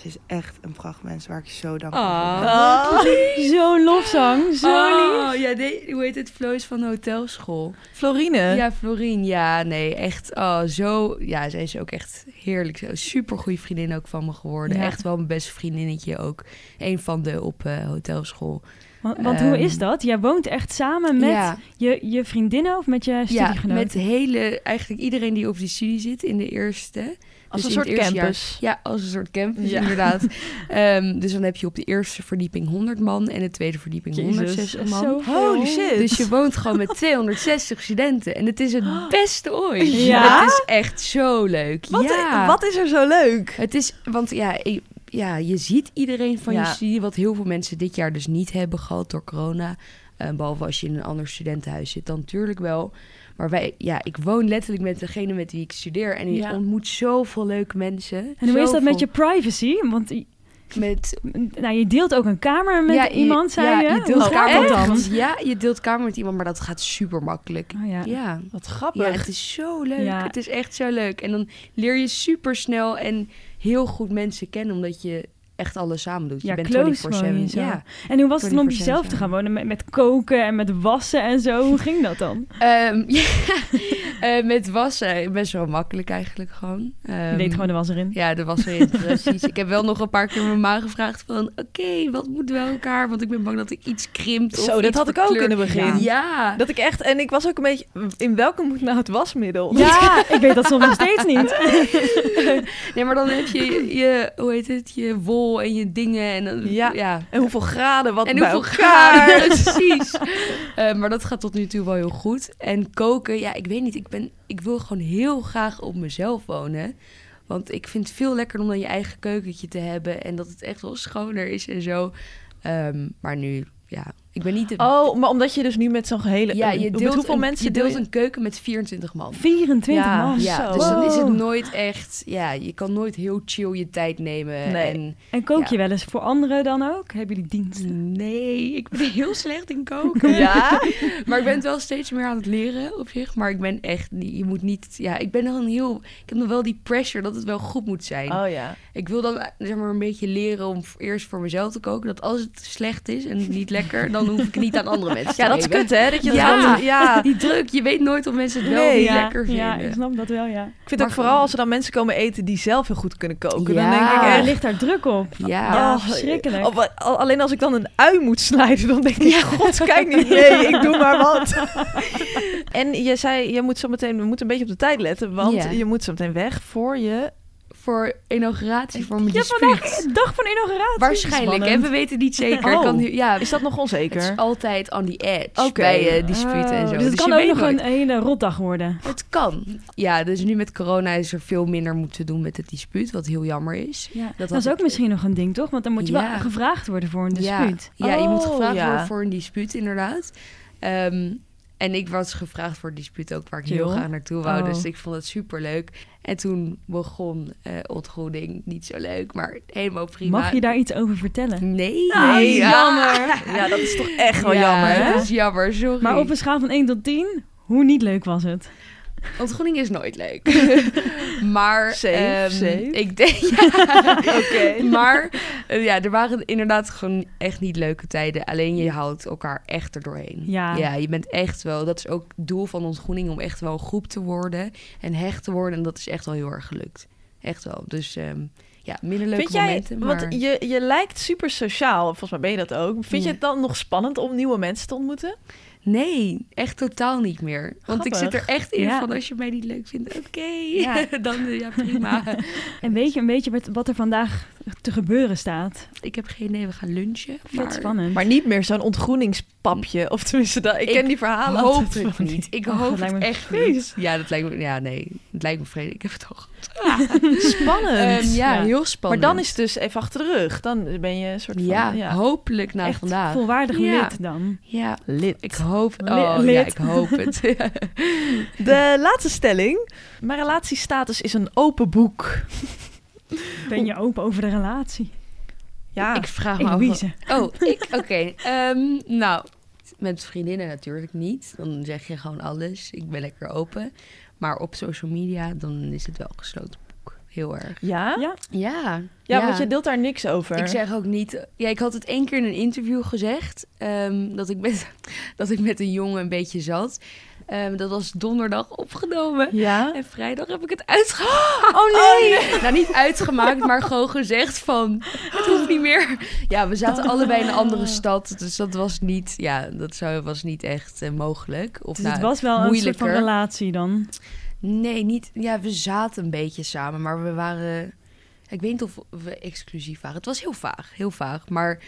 Ze is echt een prachtmens waar ik zo dankbaar voor ben. Zo'n Ah. lofzang. Zo lief. Ah. Oh, ja, nee, hoe heet het? Flo is van de hotelschool. Florine. Eh? Ja, Florien, ja, nee, echt. Oh, zo, ja, zij is ook echt heerlijk. Super goede vriendin ook van me geworden. Ja. Echt wel mijn beste vriendinnetje ook. Een van de op eh, hotelschool. Want, want hoe Ehm, is dat? Jij woont echt samen met Ja. je, je vriendinnen of met je Ja, studiegenoten? met hele, eigenlijk iedereen die op die studie zit in de eerste. Als Dus in een het soort eerste jaar- campus. ja, als een soort campus, Ja. inderdaad. Ehm, dus dan heb je op de eerste verdieping 100 man en de tweede verdieping Jezus. 160 man. Zo Holy shit. Dus je woont gewoon met 260 studenten. En het is het beste ooit. Ja? eh, Het is echt zo leuk. wat, ja. wat is er zo leuk? Het is, want ja, je- ja je ziet iedereen van je Ja. studie, wat heel veel mensen dit jaar dus niet hebben gehad door corona. Eh, behalve als je in een ander studentenhuis zit, dan natuurlijk wel. Maar wij, ja, ik woon letterlijk met degene met wie ik studeer. En je Ja. ontmoet zoveel leuke mensen. En hoe is dat met je Zoveel- privacy? Want i- Met, nou, je deelt ook een kamer met ja, je- iemand, zei ja, je? je deelt Hoe gaat kamer dat met dan? iemand. Ja, je deelt kamer met iemand, maar dat gaat super makkelijk. Oh, ja. ja. Wat grappig. Ja, het is zo leuk. Ja. Het is echt zo leuk. En dan leer je super snel en heel goed mensen kennen, omdat je echt alles samen doet. Ja, je bent close woon 24/7. je zo. Ja. En hoe was het om op 24% jezelf te ja. gaan wonen? Met, met koken en met wassen en zo. Hoe ging dat dan? Ehm, ja, eh, met wassen best wel makkelijk eigenlijk gewoon. Je Ehm, deed gewoon de was erin. Ja, dat was weer precies. ik heb wel nog een paar keer mijn ma gevraagd van... Oké, wat moet bij elkaar? Want ik ben bang dat ik iets krimpt of Zo, dat iets had ik ook in verkleurt. het begin. Ja. Dat ik echt, en ik was ook een beetje, in welke moet nou het wasmiddel? Ja, ik weet dat soms nog steeds niet. Nee, maar dan heb je je, hoe heet het, je wol en je dingen. En dan, Ja. ja, En hoeveel graden, wat En bij hoeveel elkaar. gaar. Precies. Eh, maar dat gaat tot nu toe wel heel goed. En koken, ja, ik weet niet. Ik, ben, ik wil gewoon heel graag op mezelf wonen. Want ik vind het veel lekkerder om dan je eigen keukentje te hebben. En dat het echt wel schoner is en zo. Ehm, maar nu, ja. Ik ben niet de... Oh, maar omdat je dus nu met zo'n hele... ja, met hoeveel een, mensen je deelt deel je- een keuken met 24 man. 24 Ja, man. Ja, Zo. dus dan is het Wow. nooit echt... Ja, je kan nooit heel chill je tijd nemen. Nee. En En kook Ja. je wel eens voor anderen dan ook? Hebben jullie diensten? Nee, ik ben heel slecht in koken. Ja? maar ik ben het wel steeds meer aan het leren op zich. Maar ik ben echt niet, je moet niet, ja, ik ben nog een heel, ik heb nog wel die pressure dat het wel goed moet zijn. Oh ja. Ik wil dan eh, zeg maar een beetje leren om voor- eerst voor mezelf te koken. Dat als het slecht is en niet lekker, dan hoef ik het niet aan andere mensen te Ja, dat is geven. kut hè? Dat je Ja. dat altijd- ja. Die druk, je weet nooit of mensen het wel of Nee, niet ja, lekker vinden. ja, ik snap dat wel, ja. Ik vind Maar ook vooral als er dan mensen komen eten die zelf heel goed kunnen koken. Dan Ja. denk ik Ja, echt... er ligt daar druk op. Ja. Ah, Ja, verschrikkelijk. Of, Oh, al- alleen als ik dan een ui moet snijden, dan denk ik, ja, god, kijk niet mee, ik doe maar wat. en je zei, je moet zo meteen, we moeten een beetje op de tijd letten, want Ja. je moet zo meteen weg voor je voor inauguratie voor mijn Ja, dispuut. vandaag is dag van inauguratie. Waarschijnlijk, hè? Spannend. we weten niet zeker. Oh. Kan nu, ja, Is dat nog het is onzeker? altijd on the edge Oké. bij eh, disputen en Oh, zo. Dus het Dus kan je ook weet nog nooit. een hele rotdag worden. Het kan. Ja, dus nu met corona is er veel minder moeten doen met het dispuut, wat heel jammer is. Dat, had is ook ik- misschien nog een ding, toch? Want dan moet je Ja. wel gevraagd worden voor een dispuut. Ja, ja je moet Oh, gevraagd ja. worden voor een dispuut, inderdaad. Ehm, en ik was gevraagd voor een dispuut ook, waar ik heel Chill. graag naartoe wou. Oh. Dus ik vond het superleuk. En toen begon eh ontgroening, niet zo leuk, maar helemaal prima. Mag je daar iets over vertellen? Nee. Ah, nee. jammer. Ja, dat is toch echt wel Oh, Ja, jammer, hè? dat is jammer, sorry. Maar op een schaal van 1 tot 10, hoe niet leuk was het? Ontgroening is nooit leuk. maar Safe, ehm, safe. ik denk. Ja. oh, Maar eh, ja, er waren inderdaad gewoon echt niet leuke tijden. Alleen je houdt elkaar echt erdoorheen. Ja. ja, je bent echt wel. Dat is ook het doel van ontgroening om echt wel een groep te worden en hecht te worden. En dat is echt wel heel erg gelukt. Echt wel. Dus ehm, ja, minder leuke Vind jij, momenten. Maar... want je, je lijkt super sociaal, volgens mij ben je dat ook. Vind je Ja. het dan nog spannend om nieuwe mensen te ontmoeten? Nee, echt totaal niet meer. Want ik zit er Grappig. echt in Ja. van als je mij niet leuk vindt, oké. Ja. dan eh, ja, prima. En weet je een beetje wat- wat er vandaag te gebeuren staat? ik heb geen idee, we gaan lunchen. Vet maar- spannend. Maar niet meer zo'n ontgroeningspapje. Of tenminste, dat, ik, Mm. Ik ken die verhalen hoop altijd het van die niet. Ik Oh, hoop dat het lijkt me echt niet. Ja, dat lijkt me... Ja, nee. Het lijkt me vreselijk. Ik heb het al gehad. Spannend. Ehm, ja, Ja. heel maar spannend. dan is het dus even achter de rug. Dan ben je een soort van... Ja, Ja, hopelijk na Echt vandaag. volwaardig Ja. lid dan. Ja, lid. ik hoop het. Li- Oh, ja, lid. ik hoop het. De laatste stelling. Mijn relatiestatus is een open boek. Ben je open over de relatie? Ja, ik vraag me Ik af... Louise. Oh, ik? Oké. Ehm, nou, met vriendinnen natuurlijk niet. Dan zeg je gewoon alles. Ik ben lekker open. Maar op social media, dan is het wel een gesloten boek. Heel erg. ja? Ja. Ja. Ja, want je deelt daar niks over. Ik zeg ook niet. Ja, ik had het één keer in een interview gezegd. ehm, dat, ik met, dat ik met een jongen een beetje zat. Ehm, dat was donderdag opgenomen. Ja? En vrijdag heb ik het uitgemaakt. Oh nee. Nou, niet uitgemaakt, maar gewoon gezegd van... Het hoeft niet meer. Ja, we Oh, zaten allebei in een andere stad. Dus dat was niet... Ja, dat zou, was niet echt eh, mogelijk. Of Dus nou, het was wel een soort van moeilijker. relatie dan. Nee, niet... Ja, we zaten een beetje samen, maar we waren... Ik weet niet of we exclusief waren. Het was heel vaag, heel vaag. Maar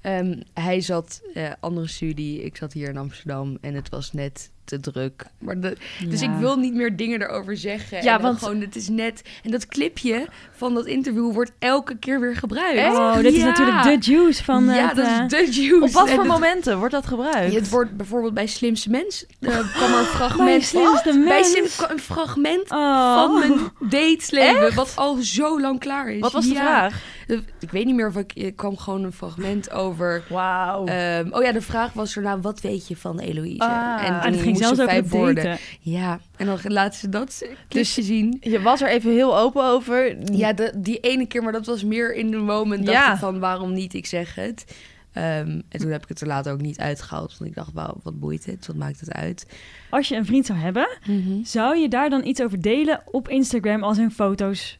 ehm, hij zat eh, andere studie, ik zat hier in Amsterdam en het was net te druk. Maar de, dus Ja. ik wil niet meer dingen erover zeggen. Ja, en dan want- gewoon, het is net. En dat clipje van dat interview wordt elke keer weer gebruikt. Oh, dit is Ja. natuurlijk de juice van Ja, het... dat eh, is de juice. Op wat En voor Dus het- momenten wordt dat gebruikt? Ja, het wordt bijvoorbeeld bij Slimste Mens. eh, kwam er een mijn fragment slimste Oh, mens. Oh, Bij Slim kwam een fragment Oh. van mijn dateleven, wat al zo lang klaar is. Wat was de Ja. vraag? De- Ik weet niet meer of ik... Er kwam gewoon een fragment over... Wauw. ehm, oh ja, de vraag was erna, wat weet je van Eloïse? Ah. en Ah, toen het ging moest zelfs ze over vijf het woorden. daten. Ja, en dan laten ze dat Dus- dus zien. je was er even heel open over. Ja, de- die ene keer, maar dat was meer in de moment. Dacht Ja. ik van, waarom niet? Ik zeg het. Ehm, en toen heb ik het er later ook niet uitgehaald. Want ik dacht, wauw, wat boeit het? Wat maakt het uit? Als je een vriend zou hebben, Mhm. zou je daar dan iets over delen op Instagram als in foto's?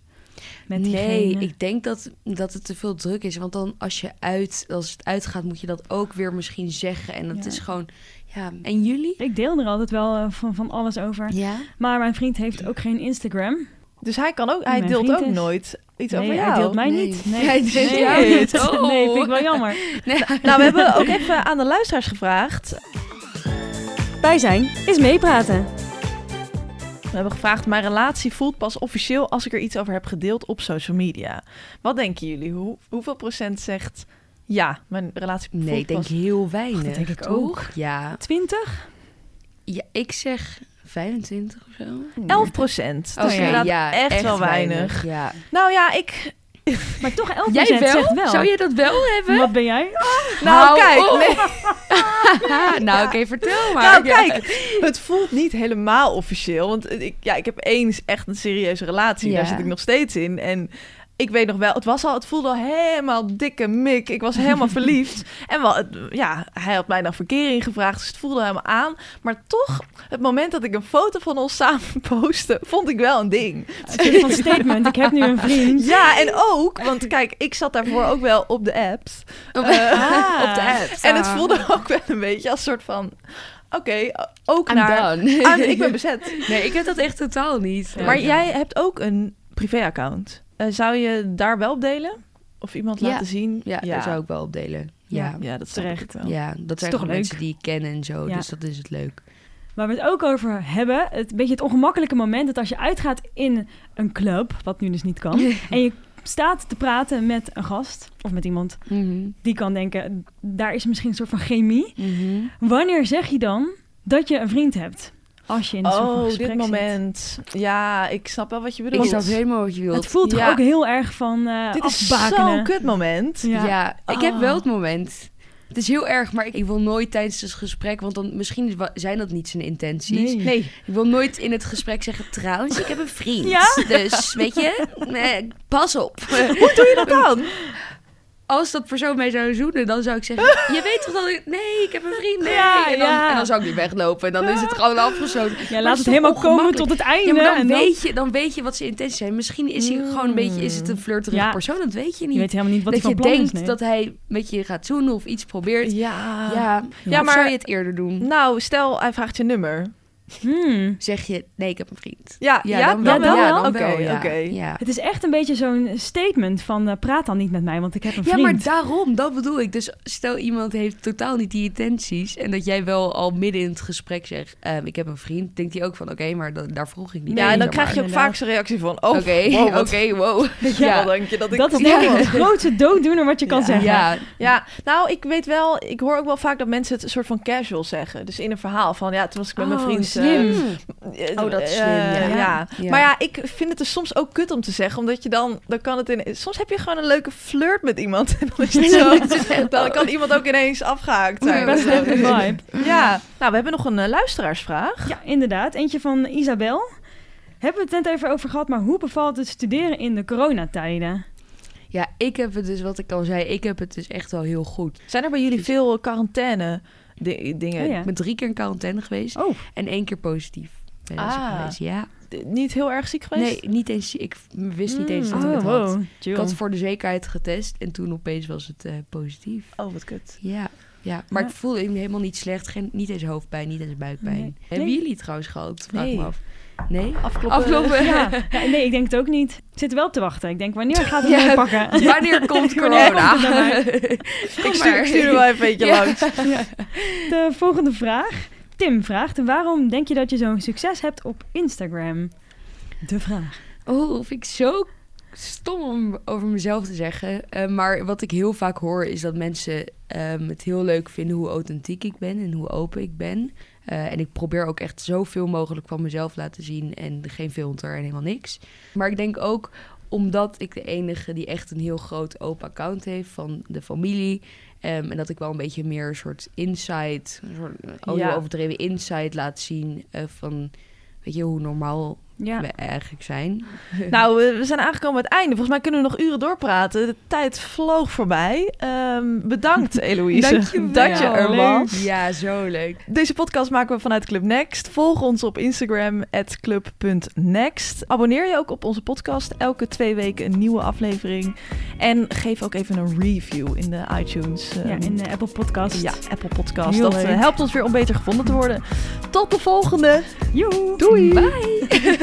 Met nee, diegene? ik denk dat, dat het te veel druk is. Want dan als je uit, als het uitgaat, moet je dat ook weer misschien zeggen. En dat Ja. is gewoon, ja. En jullie? Ik deel er altijd wel eh, van, van alles over. Ja. Maar mijn vriend heeft ook geen Instagram. Dus hij kan ook, hij Mijn deelt vriend ook is- nooit iets nee, over jou. hij deelt mij Nee. niet. Nee, Hij deelt nee, jou nee. niet. Oh. Nee, vind ik wel jammer. Nou, we hebben ook even aan de luisteraars gevraagd. Bij zijn is meepraten. We hebben gevraagd, mijn relatie voelt pas officieel als ik er iets over heb gedeeld op social media. Wat denken jullie? Hoe, hoeveel procent zegt ja, mijn relatie voelt Nee, ik denk pas... heel weinig. Dat denk ik toch? ook. Ja. 20? ja, ik zeg 25 of zo. Dus 11 procent. Dus Oké, inderdaad ja, echt, wel weinig. Ja. Nou ja, ik... Maar toch 11% Jij wel? zegt wel. Zou je dat wel hebben? Wat ben jij? Nou, Hou kijk, op. nee. nou, oké, vertel maar. nou, Ja. kijk, het voelt niet helemaal officieel. Want eh, ik, ja, ik heb eens echt een serieuze relatie. Ja. Daar zit ik nog steeds in. En ik weet nog wel, het, was al, het voelde al helemaal dikke mik. Ik was helemaal verliefd. En wel, het- ja, hij had mij naar verkering gevraagd. Dus het voelde helemaal aan. Maar toch, het moment dat ik een foto van ons samen postte, vond ik wel een ding. Een soort van statement. Ik heb nu een vriend. Ja, en ook, want kijk, ik zat daarvoor ook wel op de apps. Op, ah, Eh, op de apps. En het voelde ook wel een beetje als soort van... Oké, ook I'm naar... done. Ah, ik ben bezet. Nee, ik heb dat echt totaal niet. Maar jij hebt ook een privéaccount. Eh, zou je daar wel op delen? Of iemand Ja. laten zien? Ja, daar zou ik wel op delen. Ja, ja. ja dat snap Terecht. ik wel. dat zijn toch gewoon leuk? mensen die ik ken en zo. Ja. Dus dat is het leuk. Waar we het ook over hebben, het beetje het ongemakkelijke moment dat als je uitgaat in een club, wat nu dus niet kan, en je staat te praten met een gast of met iemand die kan denken, daar is misschien een soort van chemie. Wanneer zeg je dan dat je een vriend hebt? Als je in een soort van Oh, gesprek dit zit. moment. Ja, ik snap wel wat je Ik bedoelt. snap helemaal wat je wilt. Het voelt toch Ja. ook heel erg van eh dit is afbakenen. Oh, zo'n kut moment. Ja, Ja. Ah. ik heb wel het moment. Het is heel erg, maar ik, ik wil nooit tijdens het gesprek, want dan misschien is wa- zijn dat niet zijn intenties. Nee. Ik wil nooit in het gesprek zeggen, trouwens, ik heb een vriend. Ja? Dus, weet je, eh, pas op. Doe je dat dan? Als dat persoon mij zou zoenen, dan zou ik zeggen, je weet toch dat ik... Nee, ik heb een vriend. Nee. Ja, en, dan, ja. en dan zou ik niet weglopen. En dan is het gewoon afgesloten. Ja, Maar laat het is toch helemaal komen ongemakkelijk? tot het Ja, einde. maar dan en dan- weet, je, dan weet je wat zijn intenties zijn. Misschien is hij gewoon een beetje... Is het Mm. een flirterige Ja. persoon? Dat weet je je niet. weet helemaal niet wat dat hij je van plan denkt is. nee. dat hij met je gaat zoenen of iets probeert. Ja. Ja, Ja, of maar- zou je het eerder doen? Nou, stel, hij vraagt je nummer. Hmm. Zeg je, nee, ik heb een vriend. Ja, ja, dan, wel. Ja, dan Oké, wel, ja. oké. Ja. Het is echt een beetje zo'n statement van eh, praat dan niet met mij, want ik heb een Ja, vriend. maar daarom, dat bedoel ik. Dus stel iemand heeft totaal niet die intenties en dat jij wel al midden in het gesprek zegt, ehm, ik heb een vriend, denkt hij ook van, oké, maar da- daar vroeg ik niet. Ja, aan, en dan zeg krijg je maar. ook inderdaad. vaak zo'n reactie van... Oh, Oké, wow, wat- oké, wow. Ja, denk je dat ik... Dat is Ja. denk ik de grootste dooddoener wat je kan Ja. zeggen. Ja, Ja, nou, ik weet wel... Ik hoor ook wel vaak dat mensen het een soort van casual zeggen. Dus in een verhaal van... Ja, toen was ik met mijn Oh, vriend... slim. eh, Mm. eh, Oh, dat is eh, slim, ja. ja. Ja. Maar ja, ik vind het er soms ook kut om te zeggen. Omdat je dan... Dan kan het in... Soms heb je gewoon een leuke flirt met iemand. En dan is het zo... Dan kan iemand ook ineens afgehaakt zijn. Best wel de vibe. Ja. Nou, we hebben nog een eh, luisteraarsvraag. Ja, inderdaad. Eentje van Isabel. Hebben we het net even over gehad, maar hoe bevalt het studeren in de coronatijden? ja, ik heb het dus, wat ik al zei, ik heb het dus echt wel heel goed. Zijn er bij jullie veel quarantaine di- dingen? Oh ja. Ik ben drie keer in quarantaine geweest Oh. en één keer positief. Ben ik Ah. geweest. Ja, D- Niet heel erg ziek geweest? nee, niet eens. Ik wist niet eens dat ik Oh, het had. wow. Chill. Ik had voor de zekerheid getest en toen opeens was het eh, positief. Oh, wat kut. Ja, ja. maar Ja. ik voelde me helemaal niet slecht. Geen, niet eens hoofdpijn, niet eens buikpijn. Nee. Hebben Nee. jullie het trouwens gehad? Vraag Nee. me af. Nee? Afkloppen. Afgelopen. Ja. Ja, nee, ik denk het ook niet. Ik zit wel op te wachten. Ik denk, wanneer gaat het Ja. mij pakken? Wanneer komt Wanneer komt corona? het bij mij? Ik stuur, ik stuur er wel even eentje Ja. langs. De volgende vraag. Tim vraagt, waarom denk je dat je zo'n succes hebt op Instagram? De vraag. Oh, vind ik zo stom om over mezelf te zeggen. Eh, maar wat ik heel vaak hoor is dat mensen ehm, het heel leuk vinden hoe authentiek ik ben en hoe open ik ben. Eh, en ik probeer ook echt zoveel mogelijk van mezelf laten zien en geen filter en helemaal niks. Maar ik denk ook omdat ik de enige die echt een heel groot open account heeft van de familie. ehm, en dat ik wel een beetje meer een soort insight, een soort oh, Ja. heel overdreven insight laat zien eh, van... Weet je hoe normaal Ja. we eigenlijk zijn? Nou, we, we zijn aangekomen bij het einde. Volgens mij kunnen we nog uren doorpraten. De tijd vloog voorbij. Ehm, bedankt, Eloïse. Dankjewel. Dat je er was. Ja, zo leuk. Deze podcast maken we vanuit Club Next. Volg ons op Instagram, club.next. Abonneer je ook op onze podcast. Elke twee weken een nieuwe aflevering. En geef ook even een review in de iTunes. ehm, Ja, in de Apple Podcast. ja, Apple Podcast. Heel dat eh, leuk. helpt ons weer om beter gevonden te worden. Tot de volgende. Joe. Doei. Bye.